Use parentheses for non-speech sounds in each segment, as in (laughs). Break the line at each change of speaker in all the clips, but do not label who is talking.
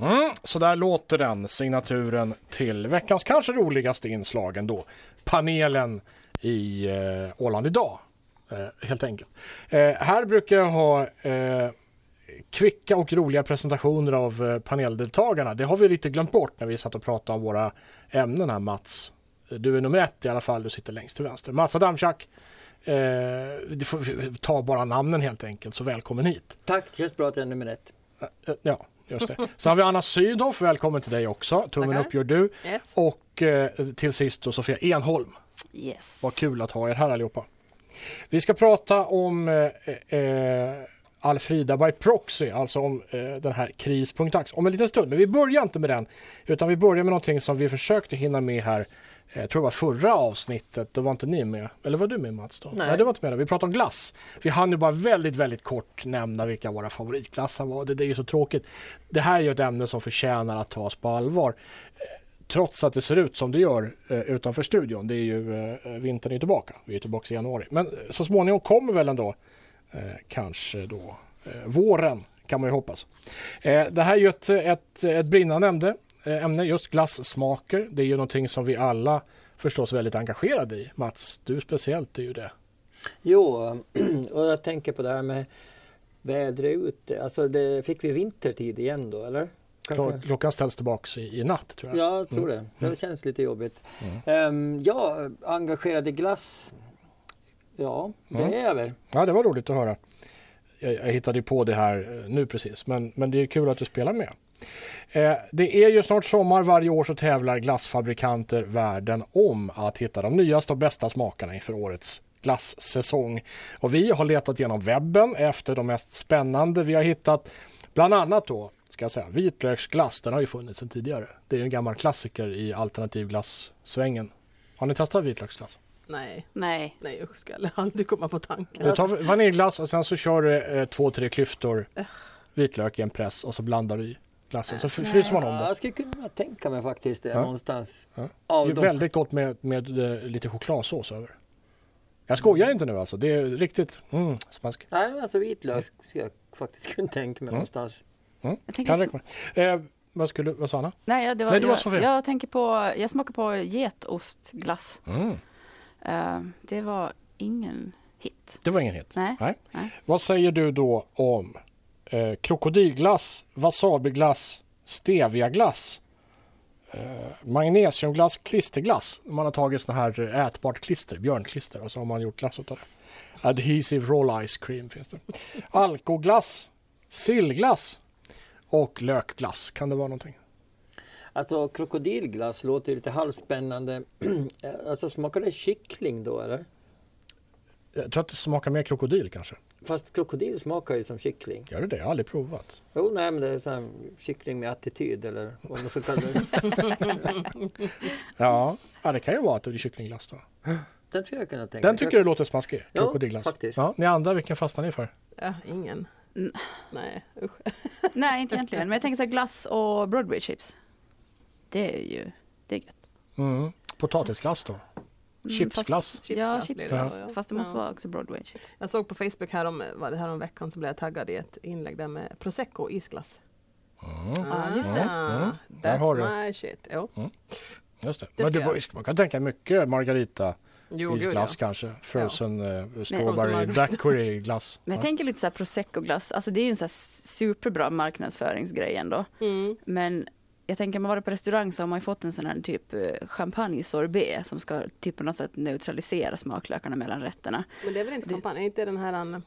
Mm, Så där låter den, signaturen till veckans kanske roligaste inslag ändå. Panelen i eh, Åland idag, eh, helt enkelt. Eh, här brukar jag ha eh, kvicka och roliga presentationer av eh, paneldeltagarna. Det har vi lite glömt bort när vi satt och pratade om våra ämnen här Mats. Du är nummer ett i alla fall, du sitter längst till vänster. Mats Adamczak, eh, du får- vi ta bara namnen helt enkelt, så välkommen hit.
Tack, känns bra att jag är nummer ett.
Eh, Ja, just det. Sen har vi Anna Sydow, välkommen till dig också. Tummen
Tackar.
upp gör du.
Yes.
Och eh, till sist då Sofia Enholm.
yes.
Vad kul att ha er här allihopa. Vi ska prata om eh, eh, Alfrida by proxy, alltså om eh, den här kris.ax om en liten stund. Men vi börjar inte med den, utan vi börjar med någonting som vi försökte hinna med här. eh, Jag tror det var förra avsnittet, då var inte ni med. Eller var du med Mats? Då?
Nej.
du var inte med. Då. Vi pratade om glass. Vi hann ju bara väldigt, väldigt kort nämna vilka våra favoritglassar var. Det, det är ju så tråkigt. Det här är ju ett ämne som förtjänar att tas på allvar Eh, trots att det ser ut som det gör eh, utanför studion. Det är ju eh, vintern är tillbaka. Vi är tillbaka i januari. Men eh, så småningom kommer väl ändå eh, kanske då eh, våren kan man ju hoppas. Eh, det här är ju ett, ett, ett brinnande ämne, eh, ämne, just glassmaker. Det är ju någonting som vi alla förstås väldigt engagerade i. Mats, du speciellt är ju det.
Jo, (clears throat) och jag tänker på det här med vädret ute. Alltså, det, fick vi vintertid igen då, eller?
Klo- Klockan ställs tillbaks i, i natt tror jag.
Ja, jag
Mm.
tror det. Det känns lite jobbigt. Ehm, ja, engagerad i glass. Ja, det
Mm.
är jag väl.
Ja, det var roligt att höra. Jag, jag hittade ju på det här eh, nu precis, men, men det är kul att du spelar med. Eh, det är ju snart sommar. Varje år så tävlar glassfabrikanter världen om att hitta de nyaste och bästa smakerna inför årets glassäsong. Och vi har letat genom webben efter de mest spännande. Vi har hittat bland annat då, ska jag säga, vitlöksglass. Den har ju funnits sedan tidigare. Det är ju en gammal klassiker i alternativ glassvängen. Har ni testat vitlöksglass?
Nej,
Nej.
nej jag skulle aldrig komma på tanken.
Du tar vaniljglass och sen så kör du eh, två, tre klyftor vitlök i en press och så blandar du i glassen. Så fr- fryser man om
Ja,
det.
jag skulle kunna tänka mig faktiskt det
Ja.
någonstans.
Ja.
Av
Det är
de-
väldigt gott med, med eh, lite chokladsås över. Jag skojar inte nu alltså. Det är riktigt mm, smask.
Nej, men alltså vitlök skulle jag faktiskt kunna tänka mig någonstans.
Jag tänker
Kan
sm-
rekommendera. Eh, vad skulle, vad sa Anna?
nej, ja, det var,
Nej, det var Sofia.
jag, jag tänker på, jag smakar på getostglass.
Mm.
Eh, det var ingen hit.
Det var ingen hit.
Nej.
Vad säger du då om eh, krokodilglass, wasabiglass, steviaglass, eh, magnesiumglass, klisterglass? Man har tagit såna här eh, ätbart klister, björnklister, och så har man gjort glass utav det. Adhesive roll ice cream finns det. Alkoglass, sillglass och lökglass. Kan det vara någonting?
Alltså krokodilglass låter ju lite halvspännande. (clears throat) alltså smakar det kyckling då eller?
Jag tror att det smakar mer krokodil kanske.
Fast krokodil smakar ju som kyckling.
Gör det det? Jag har aldrig provat.
Jo, nej men det är sån här kyckling med attityd eller vad man ska kalla det.
Ja, ja det kan ju vara att det är kycklingglass då.
Den skulle jag kunna tänka
Den tycker du låter smaskig,
Ja,
krokodilglass.
faktiskt.
Ja, ni andra, vilken fastnar ni för?
Ja, ingen.
Mm.
Nej, usch.
Nej, inte egentligen. Men jag tänker så här glass och Broadway chips. Det är ju, det är gött.
Mm. Potatisglass då?
Mm,
Chipsglass?
Fast, ja,
Chipsglass blir det
chipsglass.
då, ja.
Fast det måste
Ja.
vara också Broadway chips.
Jag såg på Facebook härom, var det härom veckan så blev jag taggad i ett inlägg där med prosecco och isglass.
Ja, just det.
Ah,
Mm.
That's
Där har du.
my shit. Jo,
Just det.
Det
Men det
ska
var, man kan tänka mycket margarita,
jo gud ja.
isglass kanske, frozen eh,
Frozen
strawberry,
margarita.
daiquiri glass.
Men jag
Ja.
tänker lite så här prosecco-glass. Alltså det är ju en så här superbra marknadsföringsgrej ändå.
Mm.
Men jag tänker, man varit på restaurang så har man ju fått en sån här typ eh, champagne-sorbet som ska typ på något sätt neutralisera smaklökarna mellan rätterna.
Men det är väl inte
Det-
champagne? Är inte den här en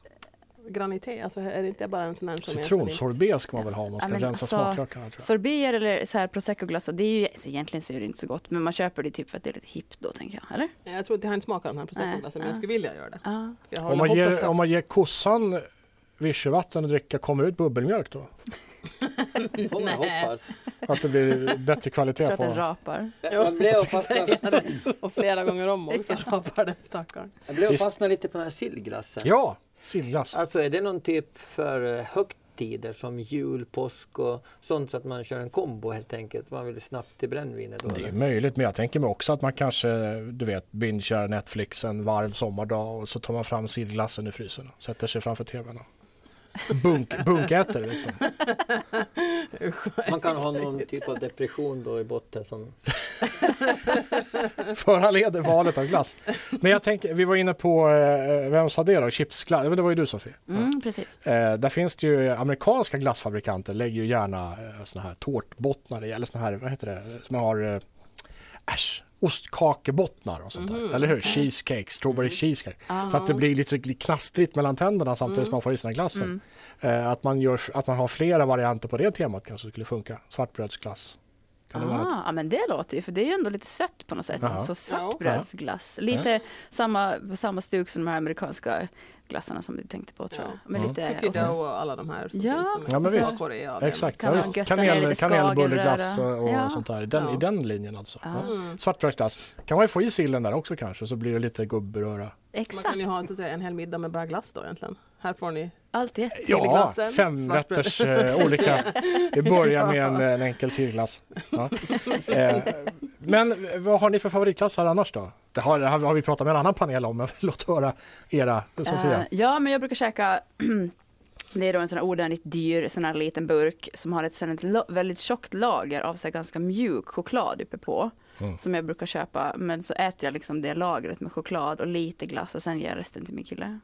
granité? Alltså är det inte bara en sån här som
Citronsorbet ska man väl ha om man ska
Ja, men
rensa
alltså,
smaklökarna. Tror jag.
Sorbier eller så här prosecco-glass, det är ju, så egentligen så är det inte så gott, men man köper det typ för att det är lite hippt då, tänker jag. Eller?
Jag, jag tror inte jag har inte smakat den här
Nej,
prosecco men jag
ja.
skulle vilja göra det.
Ja.
Jag
Om
håller
man,
hoppet
ger,
högt.
om man ger kossan virsevatten att dricka, kommer det ut bubbelmjölk då?
Det
(laughs)
får man
Nej.
hoppas.
Att det
(laughs)
blir bättre
Jag
kvalitet
tror att den
på
rapar.
Jag, jag blev och fastnade,
(laughs) Och flera gånger om (laughs) också rapar den stackaren.
jag blev och
Visst.
fastnade lite på den här sillglassen.
Ja, sillglass.
Alltså är det någon typ för eh, högtider som jul, påsk och sånt så att man kör en kombo helt enkelt? Man vill snabbt till brännvinet då?
Det är
eller?
möjligt, men jag tänker mig också att man kanske, du vet, bingear Netflix en varm sommardag och så tar man fram sillglassen ur frysen och sätter sig framför tvn och Bunk, bunkätare liksom.
Man kan ha någon typ av depression då i botten som
Föranleder valet av glass. Men jag tänkte, vi var inne på, eh, vem sa det då? Chipsglass? Det var ju du Sofie.
Mm, precis.
Eh, där finns det ju amerikanska glassfabrikanter lägger ju gärna eh, såna här tårtbottnar i, eller såna här, vad heter det, som har eh, äsch, ostkakebottnar och sånt
Mhm.
där. Eller hur? Cheesecake, strawberry cheesecake. Så att det blir lite så knastrigt mellan tänderna samtidigt som man får i sina glassen.
Mm.
Eh, att, man gör, att man har flera varianter på det temat kanske skulle funka. Svartbrödsglass. Kan det vara något?
Ah, ja, men det låter ju, för det är ju ändå lite sött på något sätt.
Jaha.
Så svartbrödsglass. Lite samma, samma stuk som de här amerikanska glassarna som du tänkte på tror jag.
Ja.
Men
Ja.
lite,
Cookie
och så
dough och alla de här som
Ja,
finns.
ja, men
som är
visst.
Korea, det är
Exakt,
kan
ja,
man
visst.
götta ner
Kanel,
lite
kanelbulleglass
skagenröra.
och, och
Ja.
sånt där. I Den,
Ja. Ah.
I den linjen alltså.
Ja.
Ja.
Mm.
Svartbrödsglass. Kan man ju få i sillen där också kanske så blir det lite gubbröra.
Man
Exakt,
kan ju ha så att säga, en hel middag med bara glass då egentligen. Här får ni
allt i ett.
Ja,
Silverglassen,
femrätters eh, olika. Vi börjar med en, en enkel sillglass. Ja. Eh, men vad har ni för favoritglassar annars då? Det har, det har vi pratat med en annan panel om, men (laughs) låt höra era, Sofia.
Eh, ja, men jag brukar käka (clears throat) Det är då en sån här ordentligt dyr sån här liten burk som har ett, sån här lo- väldigt tjockt lager av så här ganska mjuk choklad uppe på.
Mm.
Som jag brukar köpa. Men så äter jag liksom det lagret med choklad och lite glass och sen ger jag resten till min kille.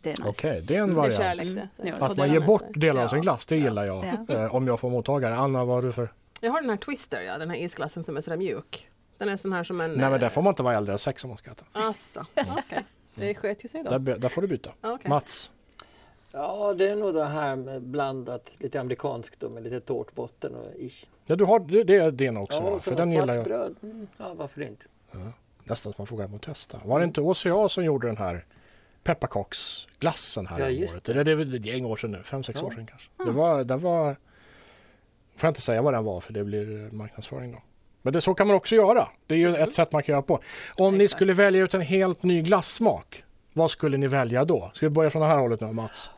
Det är nice.
Okej, det är en
det är
variant.
kärlek
Mm.
det.
Ja,
Och
det
Att
dela
man ger
med
bort
sig.
delar av sin
Ja.
glass, det gillar jag.
Ja.
Eh, om jag får mottagare. Anna, vad har du för?
Jag har den här Twister, ja, den här isglassen som är sådär mjuk. Den är sån här som en...
Nej, men där
eh,
får man inte vara äldre än sex om man ska äta.
Alltså, okej. Det sket ju sig
Där,
då.
be- där får du byta.
Ja, okej.
Mats?
Ja, det är nog det här med blandat lite amerikanskt då med lite tårtbotten och ish.
Ja, du har, det, det är din också,
Ja,
va?
och så
för den gillar jag.
svartbröd. Mm, ja, varför inte?
Nästan att man får gå hem och testa. Var det inte OCA som gjorde den här pepparkaksglassen här
Ja,
om
just
året? Det. det är väl ett gäng år sedan nu, fem, sex
Ja. Mm.
år sedan kanske. Det var, den var... Får jag inte säga vad den var för det blir eh, marknadsföring då. Men det, så kan man också göra. Det är ju
Mm.
ett sätt man kan göra på. Om ni
Exakt.
skulle välja ut en helt ny glassmak, vad skulle ni välja då? Ska vi börja från det här hållet nu Mats?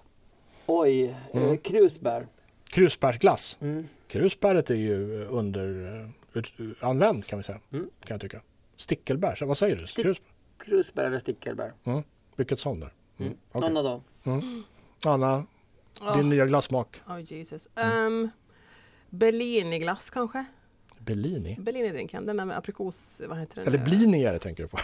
Oj,
Mm.
eh, krusbär.
Krusbärsglass.
Mm.
Krusbäret är ju eh, under eh, ut, använd kan vi säga.
Mm.
Kan jag tycka. Stickelbär, så vad säger du?
Stick-
Krus,
Krusbär eller stickelbär.
vilket sån där? Mm. okej.
Någon av dem.
Anna,
Åh,
Din nya glassmak.
oh, Jesus. Um, Belliniglass kanske?
Bellini?
Bellinidrinken, den där med aprikos... Vad heter den?
Eller
(laughs)
blini är det tänker du på.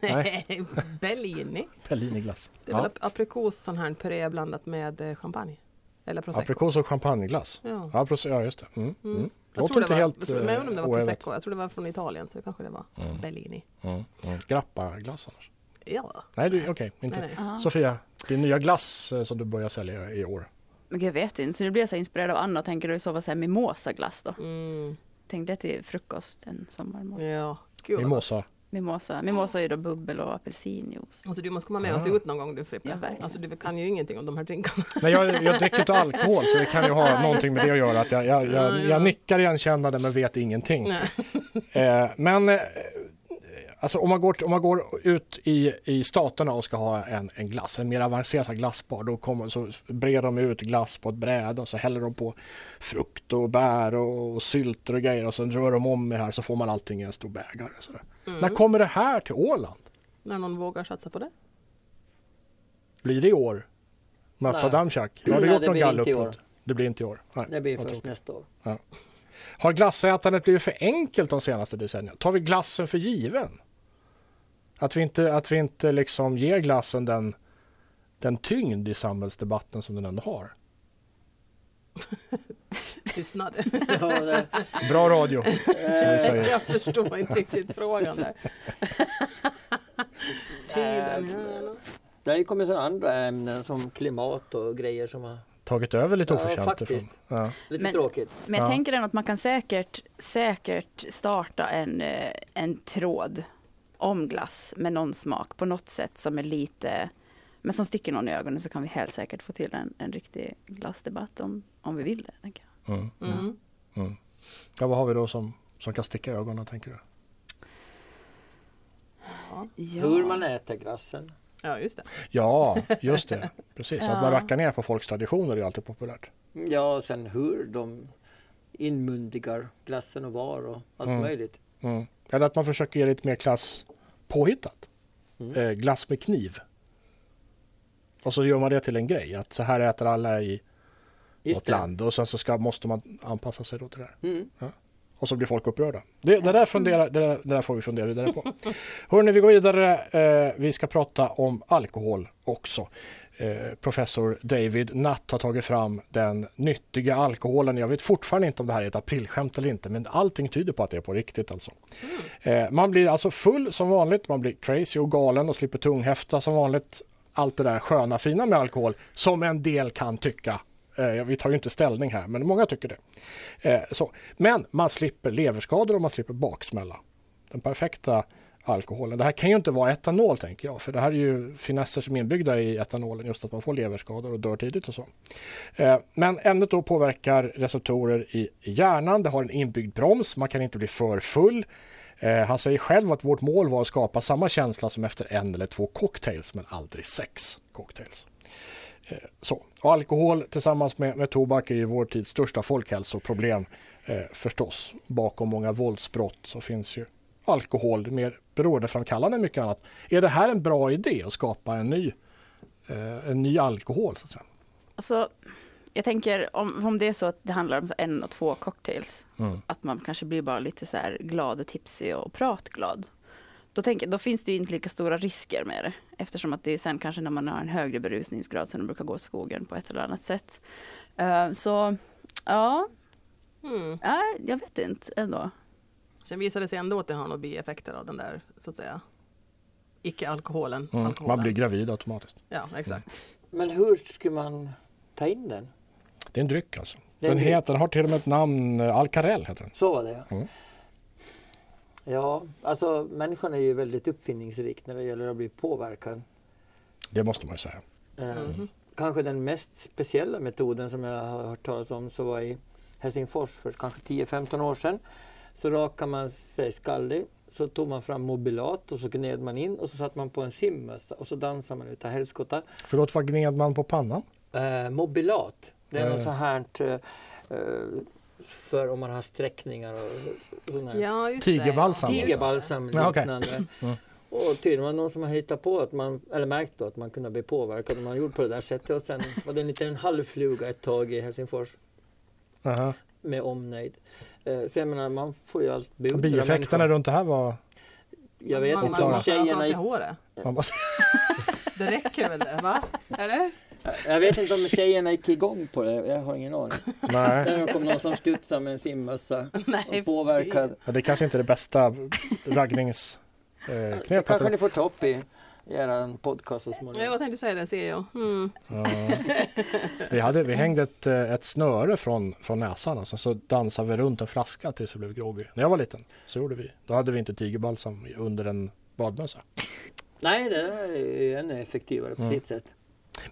Nej, Bellini.
Belliniglass.
Det är väl
Ja.
ap- aprikos sån här puré blandat med eh, champagne? Eller prosecco?
Aprikos och champagneglass.
ja.
Ja, pros- ja, just det. Mm.
Mm.
Mm.
Jag
Låter
tror det
inte
var,
helt
jag tror, men jag undrar om det
eh,
var
oävet.
prosecco. Jag tror det var från Italien så det kanske det var Bellini.
Mm. Mm. Grappaglass annars?
Ja.
Nej, du- okej. inte.
Nej, nej.
Ja.
Sofia, din nya glass eh, som du börjar sälja i år.
Men gud, jag vet inte, så nu blir jag så här inspirerad av Anna och tänker du så vad säger mimosaglass då?
Mm.
Tänk det till frukost en sommarmorgon.
Ja. Gud, vad
Mimosa.
Mimosa, mimosa är ju då bubbel och apelsinjuice.
Alltså du måste komma med och se
Ja.
ut någon gång du Frippe.
Ja, verkligen.
alltså du kan ju ingenting om de här drinkarna.
Nej, jag, jag dricker inte alkohol så det kan ju ha någonting med det att göra. Att jag, jag,
Ja,
jag,
ja.
jag nickar igenkännande men vet ingenting.
Nej.
Eh, men eh, alltså, om, man går, om man går ut i, i staterna och ska ha en, en glass, en mer avancerad så här glassbar, då kommer, så breder de ut glass på ett bräde och så häller de på frukt och bär och, och sylter och grejer och sen rör de om det här så får man allting i en stor bägare. Så där.
Mm.
När kommer det här till Åland?
När någon vågar satsa på det.
Blir det i år? Mats
Nej.
Adamczak, har du
Nej,
gjort
det
någon
blir
gallup?
inte i
på
år.
det? Det blir inte i år. Nej,
Det blir
vad
först
tråkigt.
nästa år. (laughs)
Har glassätandet blivit för enkelt de senaste decennierna? Tar vi glassen för given? Att vi inte, att vi inte liksom ger glassen den, den tyngd i samhällsdebatten som den ändå har.
Tystnad.
Ja, det,
Bra radio, som vi säger.
(laughs) jag förstår inte riktigt
(laughs)
frågan där. Tiden. ja.
det har ju kommit sådana andra ämnen som klimat och grejer som har
Tagit över lite
Ja,
oförtjänt. ifrån.
faktiskt.
Ja. Mm,
lite
Men-
tråkigt.
Men jag
Ja.
tänker ändå att man kan säkert, säkert starta en, eh, en tråd om glass med någon smak på något sätt som är lite, men som sticker någon i ögonen så kan vi helt säkert få till en, en riktig glassdebatt om, om vi vill det. Tänker jag.
Mm.
Mm.
Ja, vad har vi då som, som kan sticka i ögonen, tänker du?
Hur man äter glassen.
Ja, just det.
Ja, just det. Precis, att man
Ja.
rackar ner på folks traditioner är alltid populärt.
Ja, och sen hur de inmundigar glassen och var och allt
Mm.
möjligt.
Mm. Eller att man försöker ge lite mer klass påhittat.
Mm.
Eh, glass med kniv. Och så gör man det till en grej, att så här äter alla i
Just
vårt
det.
land. Och sen så ska, måste man anpassa sig då till det där.
Mm.
Och så blir folk upprörda. Det, det, där, funderar, det, där, det där får vi fundera vidare på. Hörrni, vi går vidare. Eh, vi ska prata om alkohol också. Eh, professor David Nutt har tagit fram den nyttiga alkoholen. Jag vet fortfarande inte om det här är ett aprilskämt eller inte, men allting tyder på att det är på riktigt. Alltså. Eh, man blir alltså full som vanligt, man blir crazy och galen och slipper tunghäfta som vanligt. Allt det där sköna fina med alkohol, som en del kan tycka. Eh, vi tar ju inte ställning här, men många tycker det. Eh, så. Men man slipper leverskador och man slipper baksmälla. Den perfekta alkoholen. Det här kan ju inte vara etanol tänker jag, för det här är ju finesser som är inbyggda i etanolen, just att man får leverskador och dör tidigt och så. Eh, Men ämnet då påverkar receptorer i i hjärnan, det har en inbyggd broms, man kan inte bli för full. Eh, Han säger själv att vårt mål var att skapa samma känsla som efter en eller två cocktails, men aldrig sex cocktails. Eh, Så. Och alkohol tillsammans med, med tobak är ju vår tids största folkhälsoproblem eh, förstås. Bakom många våldsbrott så finns ju alkohol mer beroendeframkallande än mycket annat. Är det här en bra idé att skapa en ny, eh, en ny alkohol? Så att säga?
Alltså, jag tänker om, om det är så att det handlar om så en och två cocktails, att man kanske blir bara lite så här glad och tipsig och pratglad. Då, tänker, då finns det ju inte lika stora risker med det. Eftersom att det är sen kanske när man har en högre berusningsgrad som det brukar gå åt skogen på ett eller annat sätt. Eh, så ja,
Mm.
nej, jag vet inte ändå.
Sen visade det sig ändå att det har några bieffekter av den där, så att säga, icke-alkoholen.
Mm.
alkoholen.
Man blir gravid automatiskt.
Ja, exakt.
Men hur skulle man ta in den?
Det är en dryck alltså.
Det är en
Den,
dryck.
heter, den har till och med ett namn, eh, Alcarell heter den.
Så var det ja.
Mm.
Ja, alltså människan är ju väldigt uppfinningsrik när det gäller att bli påverkad.
Det måste man ju säga.
Eh,
Mhm.
Kanske den mest speciella metoden som jag har hört talas om så var i Helsingfors för kanske 10-15 år sedan. Så rakade man sig skallig, så tog man fram mobilat och så gned man in och så satte man på en simmössa och så dansade man utav helskotta.
Förlåt, vad gned man på pannan?
Eh, mobilat, det är
Ja,
något
ja.
så här eh, eh, för om man har sträckningar och sådana här
Ja, just
Tigerbalsam.
det. ja.
tigerbalsam
Ja, okej.
liknande.
Mm.
(laughs) Och tydligen var det någon som hade hittat på att man, eller märkt då att man kunde bli påverkad om man gjorde på det där sättet. Och sen var det en liten halvfluga ett tag i Helsingfors
Aha.
med omnejd. Eh, Så jag menar, man får ju allt beundra
Bieffekterna
människan.
runt det här var...
Jag vet
Man-
inte
Man
om
Oklara.
måste raka av
tjejerna
sig
gick
håret.
Man bara,
Det räcker väl det, va? Eller?
(laughs) Jag vet inte om tjejerna gick igång på det, jag har ingen
(laughs)
aning.
nej,
Där kom någon som studsade med en simmössa
Nej,
och påverkad.
Ja, det kanske inte är det bästa eh,
Det
raggningsknepet.
kanske ni får ta upp i i er podcast så
Ja, Jag
småningom.
tänkte säga det, ser jag. Mm.
Ja. Vi, hade, vi hängde ett, eh, ett snöre från, från näsan och sen så dansade vi runt en flaska tills vi blev groggy. När jag var liten så gjorde vi. Då hade vi inte tigerbalsam i- under en badmössa.
Nej, det där är ju ännu effektivare på
Mm.
sitt sätt.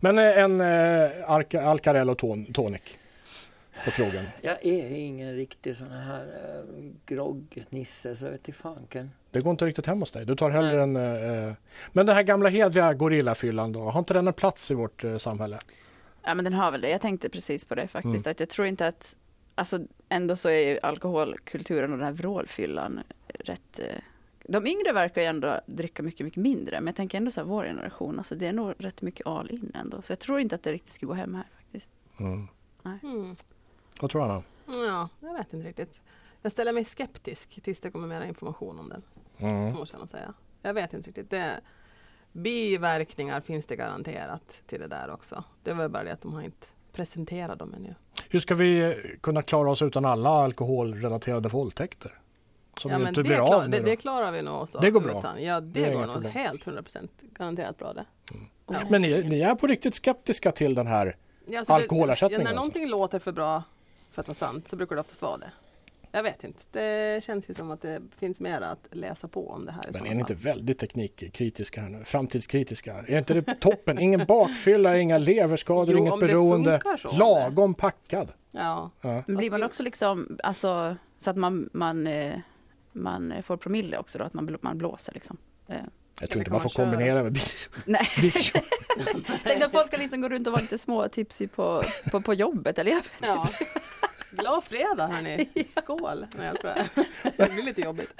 Men eh, en eh, Alca- Alcarell och ton, tonic på krogen.
Jag är ingen riktig sån här eh, groggnisse så jag vet inte fanken.
Det går inte riktigt hem hos dig. Du tar hellre en... eh, eh, Men den här gamla hedliga gorillafyllan då? Har inte den en plats i vårt eh, samhälle?
Ja, men den har väl det. Jag tänkte precis på det faktiskt. Att jag tror inte att, alltså ändå så är ju alkoholkulturen och den här vrålfyllan rätt... eh, De yngre verkar ju ändå dricka mycket, mycket mindre. Men jag tänker ändå så här, vår generation, alltså det är nog rätt mycket all in ändå. Så jag tror inte att det riktigt skulle gå hem här faktiskt.
Mm.
Mm.
Vad tror du Anna?
Ja, jag vet inte riktigt. Jag ställer mig skeptisk tills det kommer mer information om den.
Mm.
Måste jag nog säga. Jag vet inte riktigt. Det, biverkningar finns det garanterat till det där också. Det var bara det att de har inte presenterat dem ännu.
Hur ska vi eh, kunna klara oss utan alla alkoholrelaterade våldtäkter? Som vi inte
det,
blir
klar-
av med.
det,
då.
det klarar vi nog. Också
Det går bra.
Utan,
Det
ja, det,
är inga
går nog
problem.
helt 100% garanterat bra det.
Men ni, ni är på riktigt skeptiska till den här.
Ja, alltså det-
Alkoholersättning
ja, När
alltså?
någonting låter för bra för att vara sant så brukar det oftast vara det. Jag vet inte. Det känns ju som att det finns mer att läsa på om det här. i
Men
sådana
är ni inte
fall.
väldigt teknikkritiska här nu? Framtidskritiska? Är inte det toppen? Ingen bakfylla, inga leverskador,
Jo,
inget
om det
beroende.
funkar så.
Lagom packad.
Ja.
Ja.
Men blir
Fast
man
det-
också liksom, alltså så att man, man, eh, man eh, får promille också då, att man, bl- man blåser liksom. (laughs)
Jag
Eller
tror inte
kan
man
man
får kombinera med bil. (laughs)
Nej, tänk att folk kan liksom gå runt och vara lite små tipsy på, på, på jobbet eller jag vet
(laughs)
inte.
ja. Glad fredag hörni! Skål! Nej, jag skojar. Det blir lite jobbigt.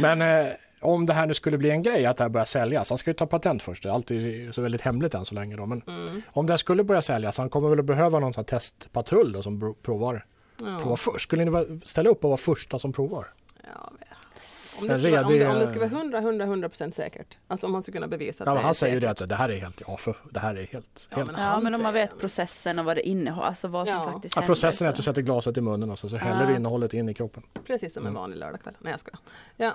Men eh, om det här nu skulle bli en grej att det här börjar säljas, han ska ju ta patent först, allt är så väldigt hemligt än så länge då, men
Mm.
om det här skulle börja säljas, han kommer väl att behöva någon sån här testpatrull då som bro- provar, provar
Ja.
först. Skulle ni vara- ställa upp och vara första som provar?
Ja, men- om,
En
det skulle, vara- om,
redig,
det, om det
eh,
skulle vara 100, 100, 100 procent säkert. Alltså om man skulle kunna bevisa att
Ja,
det
men
är
han säger ju
säkert.
det att det här är helt, ja, för, det här är helt,
Ja,
helt
men
sant.
Ja,
han
men om man
säger
vet
det.
processen och vad det innehåller, alltså vad som
Ja.
faktiskt
Ja,
händer.
processen är att
så-
du sätter glaset i munnen och så, så häller
Ja.
du innehållet in i kroppen.
Precis som en
Mm.
vanlig lördagkväll. Nej, jag skojar. Ja.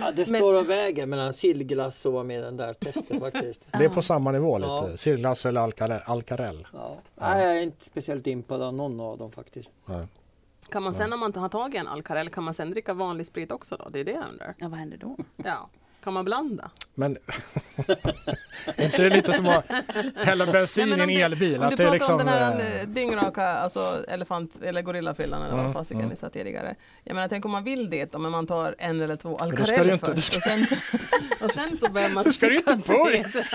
Ja, det
Men-
står och väger mellan chilglass och vad med den där testen (laughs) faktiskt.
Det är på samma nivå
Ja.
lite, Sirlas eller Alcare- Alcarell.
Ja. Nej, jag är inte speciellt impad av någon av dem faktiskt.
Nej.
Kan man sen om man inte har tagit en Alcarell, kan man sen dricka vanlig sprit också då? Det är det jag undrar.
Ja, vad händer då?
Ja. Kan man blanda?
Men (laughs) är inte det lite som att hälla bensin
Nej, men om
i en
du-
elbil?
Om du
Att det är
pratar
liksom,
om den här
(laughs) eh,
eh, dyngraka alltså elefant eller gorillafrillan eller
Mm,
vad fasiken
mm.
ni sa tidigare. Jag menar tänk om man vill det om man tar en eller två
då ska du
Alcarell
inte- du
först och sen, och sen (laughs) så börjar man
Då ska du inte
dricka
börja.
(laughs) sprit.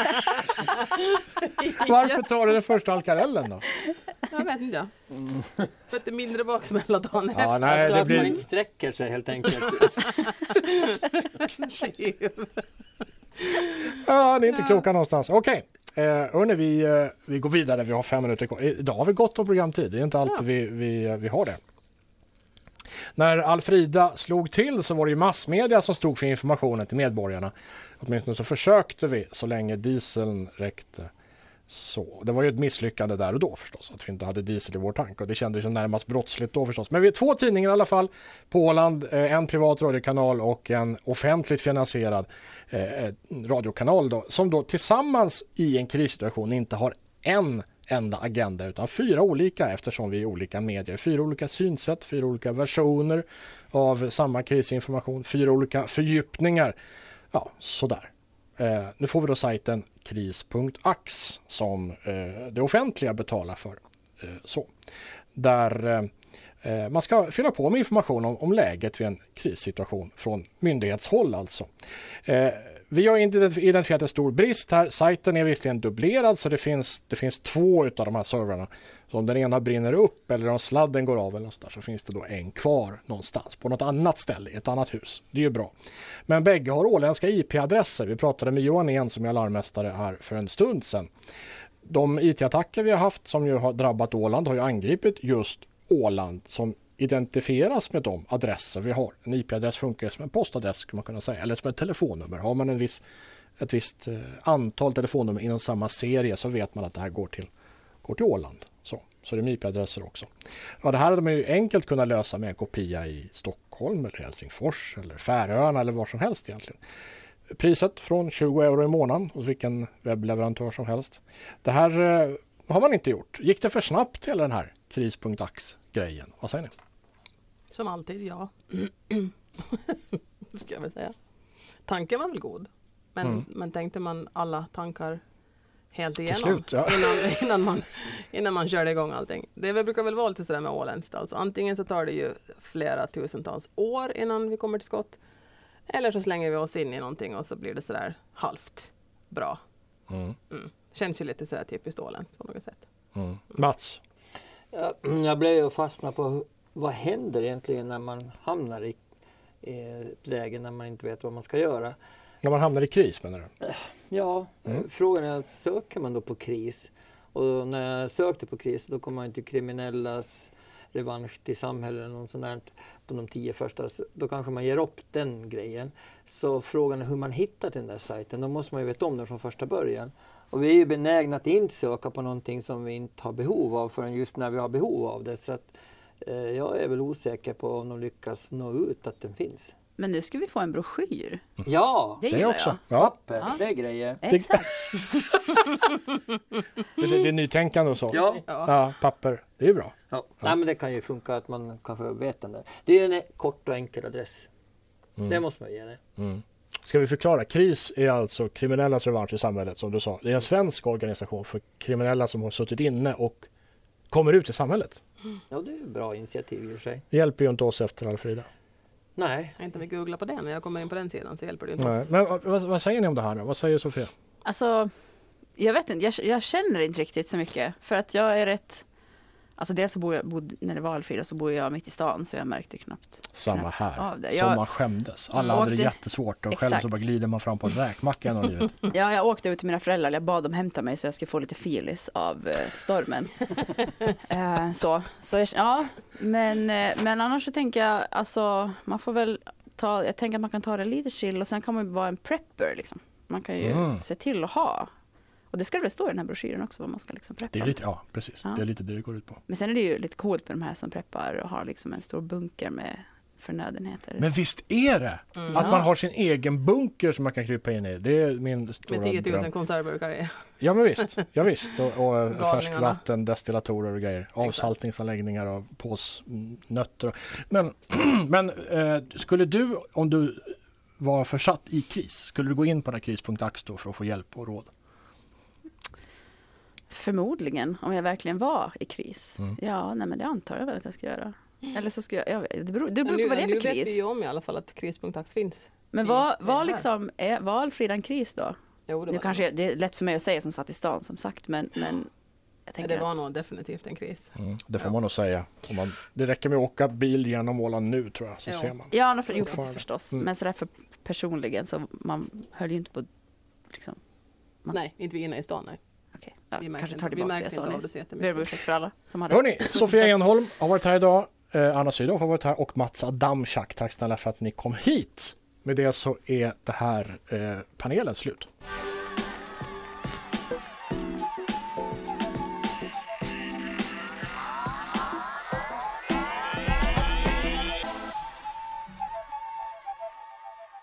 varför tar du den första Alcarellen
(laughs)
då?
Jag vet inte jag. För att det är mindre baksmälla dagen efter.
Mm. Ja, nej,
alltså
det
att man
blir...
inte sträcker sig helt enkelt. (laughs)
Ja, ni är inte kloka någonstans. Okej, eh, hörni, vi, eh, vi går vidare. Vi har fem minuter kvar. Idag har vi gott om programtid. Det är inte alltid vi, vi, vi har det. När Alfrida slog till så var det ju massmedia som stod för informationen till medborgarna. Åtminstone så försökte vi så länge dieseln räckte. Så, det var ju ett misslyckande där och då förstås, att vi inte hade diesel i vår tank och det kändes ju närmast brottsligt då förstås. Men vi är två tidningar i alla fall på Åland, eh, en privat radiokanal och en offentligt finansierad eh, eh, radiokanal då, som då tillsammans i en krissituation inte har en enda agenda utan fyra olika eftersom vi är olika medier. Fyra olika synsätt, fyra olika versioner av samma krisinformation, fyra olika fördjupningar. Ja, sådär. Eh, nu får vi då sajten kris.ax som eh, det offentliga betalar för. Eh, så. Där eh, eh, man ska fylla på med information om, om läget vid en krissituation från myndighetshåll alltså. Eh, vi har identif- identifierat en stor brist här. Sajten är visserligen dubblerad så det finns, det finns två av de här servrarna. Så om den ena brinner upp eller om sladden går av eller något sådär, så finns det då en kvar någonstans på något annat ställe i ett annat hus. Det är ju bra. Men bägge har åländska IP-adresser. Vi pratade med Johan igen som är alarmmästare här för en stund sedan. De IT-attacker vi har haft som ju har drabbat Åland har ju angripit just Åland som identifieras med de adresser vi har. En IP-adress funkar ju som en postadress skulle man kunna säga, eller som ett telefonnummer. Har man en viss, ett visst eh, antal telefonnummer inom samma serie så vet man att det här går till, går till Åland. Så, så det är med IP-adresser också. Ja, det här hade man ju enkelt kunnat lösa med en kopia i Stockholm eller Helsingfors eller Färöarna eller var som helst egentligen. Priset från 20 euro i månaden hos vilken webbleverantör som helst. Det här eh, har man inte gjort. Gick det för snabbt hela den här kris.ax-grejen? Vad säger ni?
Som alltid, ja. (clears throat) Ska jag väl säga. Tanken var väl god. Men,
Mm.
men tänkte man alla tankar helt igenom?
slut, ja.
(laughs) innan, innan, man, innan man körde igång allting. Det väl- brukar väl vara lite sådär med åländskt. Alltså. Antingen så tar det ju flera tusentals år innan vi kommer till skott. Eller så slänger vi oss in i någonting och så blir det sådär halvt bra. Mm. Känns ju lite sådär typiskt åländskt på något sätt.
mm. Mats?
Jag, mm, jag blev ju fastnad på hu- vad händer egentligen när man hamnar i, i ett läge när man inte vet vad man ska göra.
När man hamnar i kris menar du?
Ja, eh, frågan är söker man då på kris? Och när jag sökte på kris då kom man ju till kriminellas revansch till samhället eller något sånt där på de tio första. Så Då kanske man ger upp den grejen. Så frågan är hur man hittar till den där sajten. Då måste man ju veta om den från första början. Och vi är ju benägna att inte söka på någonting som vi inte har behov av förrän just när vi har behov av det. Så att, eh, jag är väl osäker på om de lyckas nå ut att den finns.
Men nu ska vi få en broschyr.
Ja!
Det, gillar jag.
Ja.
Papper, det är grejer.
Exakt.
Det, det, det är nytänkande och så.
Ja.
Ja, papper, det är ju bra.
Ja. Nej, men det kan ju funka att man kanske vet den där. Det är en kort och enkel adress. Det måste man ge det.
Ska vi förklara? KRIS är alltså kriminellas revansch i samhället som du sa. Det är en svensk organisation för kriminella som har suttit inne och kommer ut i samhället.
Ja, det är ett bra initiativ i och för sig.
Det hjälper ju inte oss efter Alfrida.
Nej,
Inte om vi googlar på det när jag kommer in på den sidan så hjälper det ju inte
Nej.
oss.
Men vad, vad- vad säger ni om det här då? Vad säger Sofia?
Alltså, jag vet inte, jag, jag känner inte riktigt så mycket. För att jag är rätt... Alltså dels så bor jag, bod, när det var Alfrida så bor jag mitt i stan så jag märkte knappt.
Samma här.
av det.
Som
Jag-
man skämdes. Alla
Och
hade det
det-
jättesvårt och själv så
Exakt.
bara glider man
(laughs)
fram på en räkmacka genom livet.
Ja, jag åkte ut till mina föräldrar, jag bad dem hämta mig så jag skulle få lite filis av eh, stormen. eh, så, så jag, ja, men, eh, men annars så tänker jag, alltså man får väl ta, jag tänker att man kan ta det lite chill och sen kan man ju vara en prepper liksom. Man kan ju
Mm.
se till att ha. Och det ska väl stå i den här broschyren också vad man ska liksom preppa.
Det är lite, ja, precis.
Ja.
Det är lite det det går ut på.
Men sen är det ju lite coolt med de här som preppar och har liksom en stor bunker med förnödenheter.
Men visst är det? Att
Mm.
Mm. Ja.
man har sin egen bunker som man kan krypa in i. Det är min stora
Med 10 000
dröm.
konservburkare i.
Ja men visst, ja, visst. och, och
Galningarna.
färskvatten, destillatorer och grejer. Avsaltningsanläggningar och påsnötter. och- Men, (clears throat) men eh, skulle du, om du var försatt i kris, skulle du gå in på den här kris.ax då för att få hjälp och råd?
Förmodligen, om jag verkligen var i kris.
Mm.
Ja, nej men det antar jag väl att jag ska göra. Eller så ska jag, jag vet- det beror, det
Men Mm.
beror
nu,
på vad det
nu
är för
vet vi ju
kris.
om i alla fall att kris.ax finns.
Men
vi
var,
inte
var
här.
liksom, är, var Alfrida en kris då?
Jo, det
Nu
var
kanske
det.
jag- det är lätt för mig att säga som satt i stan som sagt, men, men jag
Ja,
tänker
det var
att,
nog definitivt en kris.
Det får man nog säga. Om man, det räcker med att åka bil genom Åland nu tror jag, så
Ja.
ser man.
Ja, no, för, jo,
Fortfarande.
förstås.
Mm.
Men sådär för personligen så man höll ju inte på liksom, Man-
Nej, inte vi inne i stan. Nej.
okej, ja,
Vi märkte
kanske
inte-
tar
vi
tillbaka det
märkte
jag sa
inte av det
nyss.
så
Ber om
jättemycket.
ursäkt för alla som hade.
Hörni, Sofia Enholm har varit här idag. Eh, Anna Sydhoff har varit här och Mats Adamczak. Tack snälla för att ni kom hit. Med det så är det här eh, panelen slut.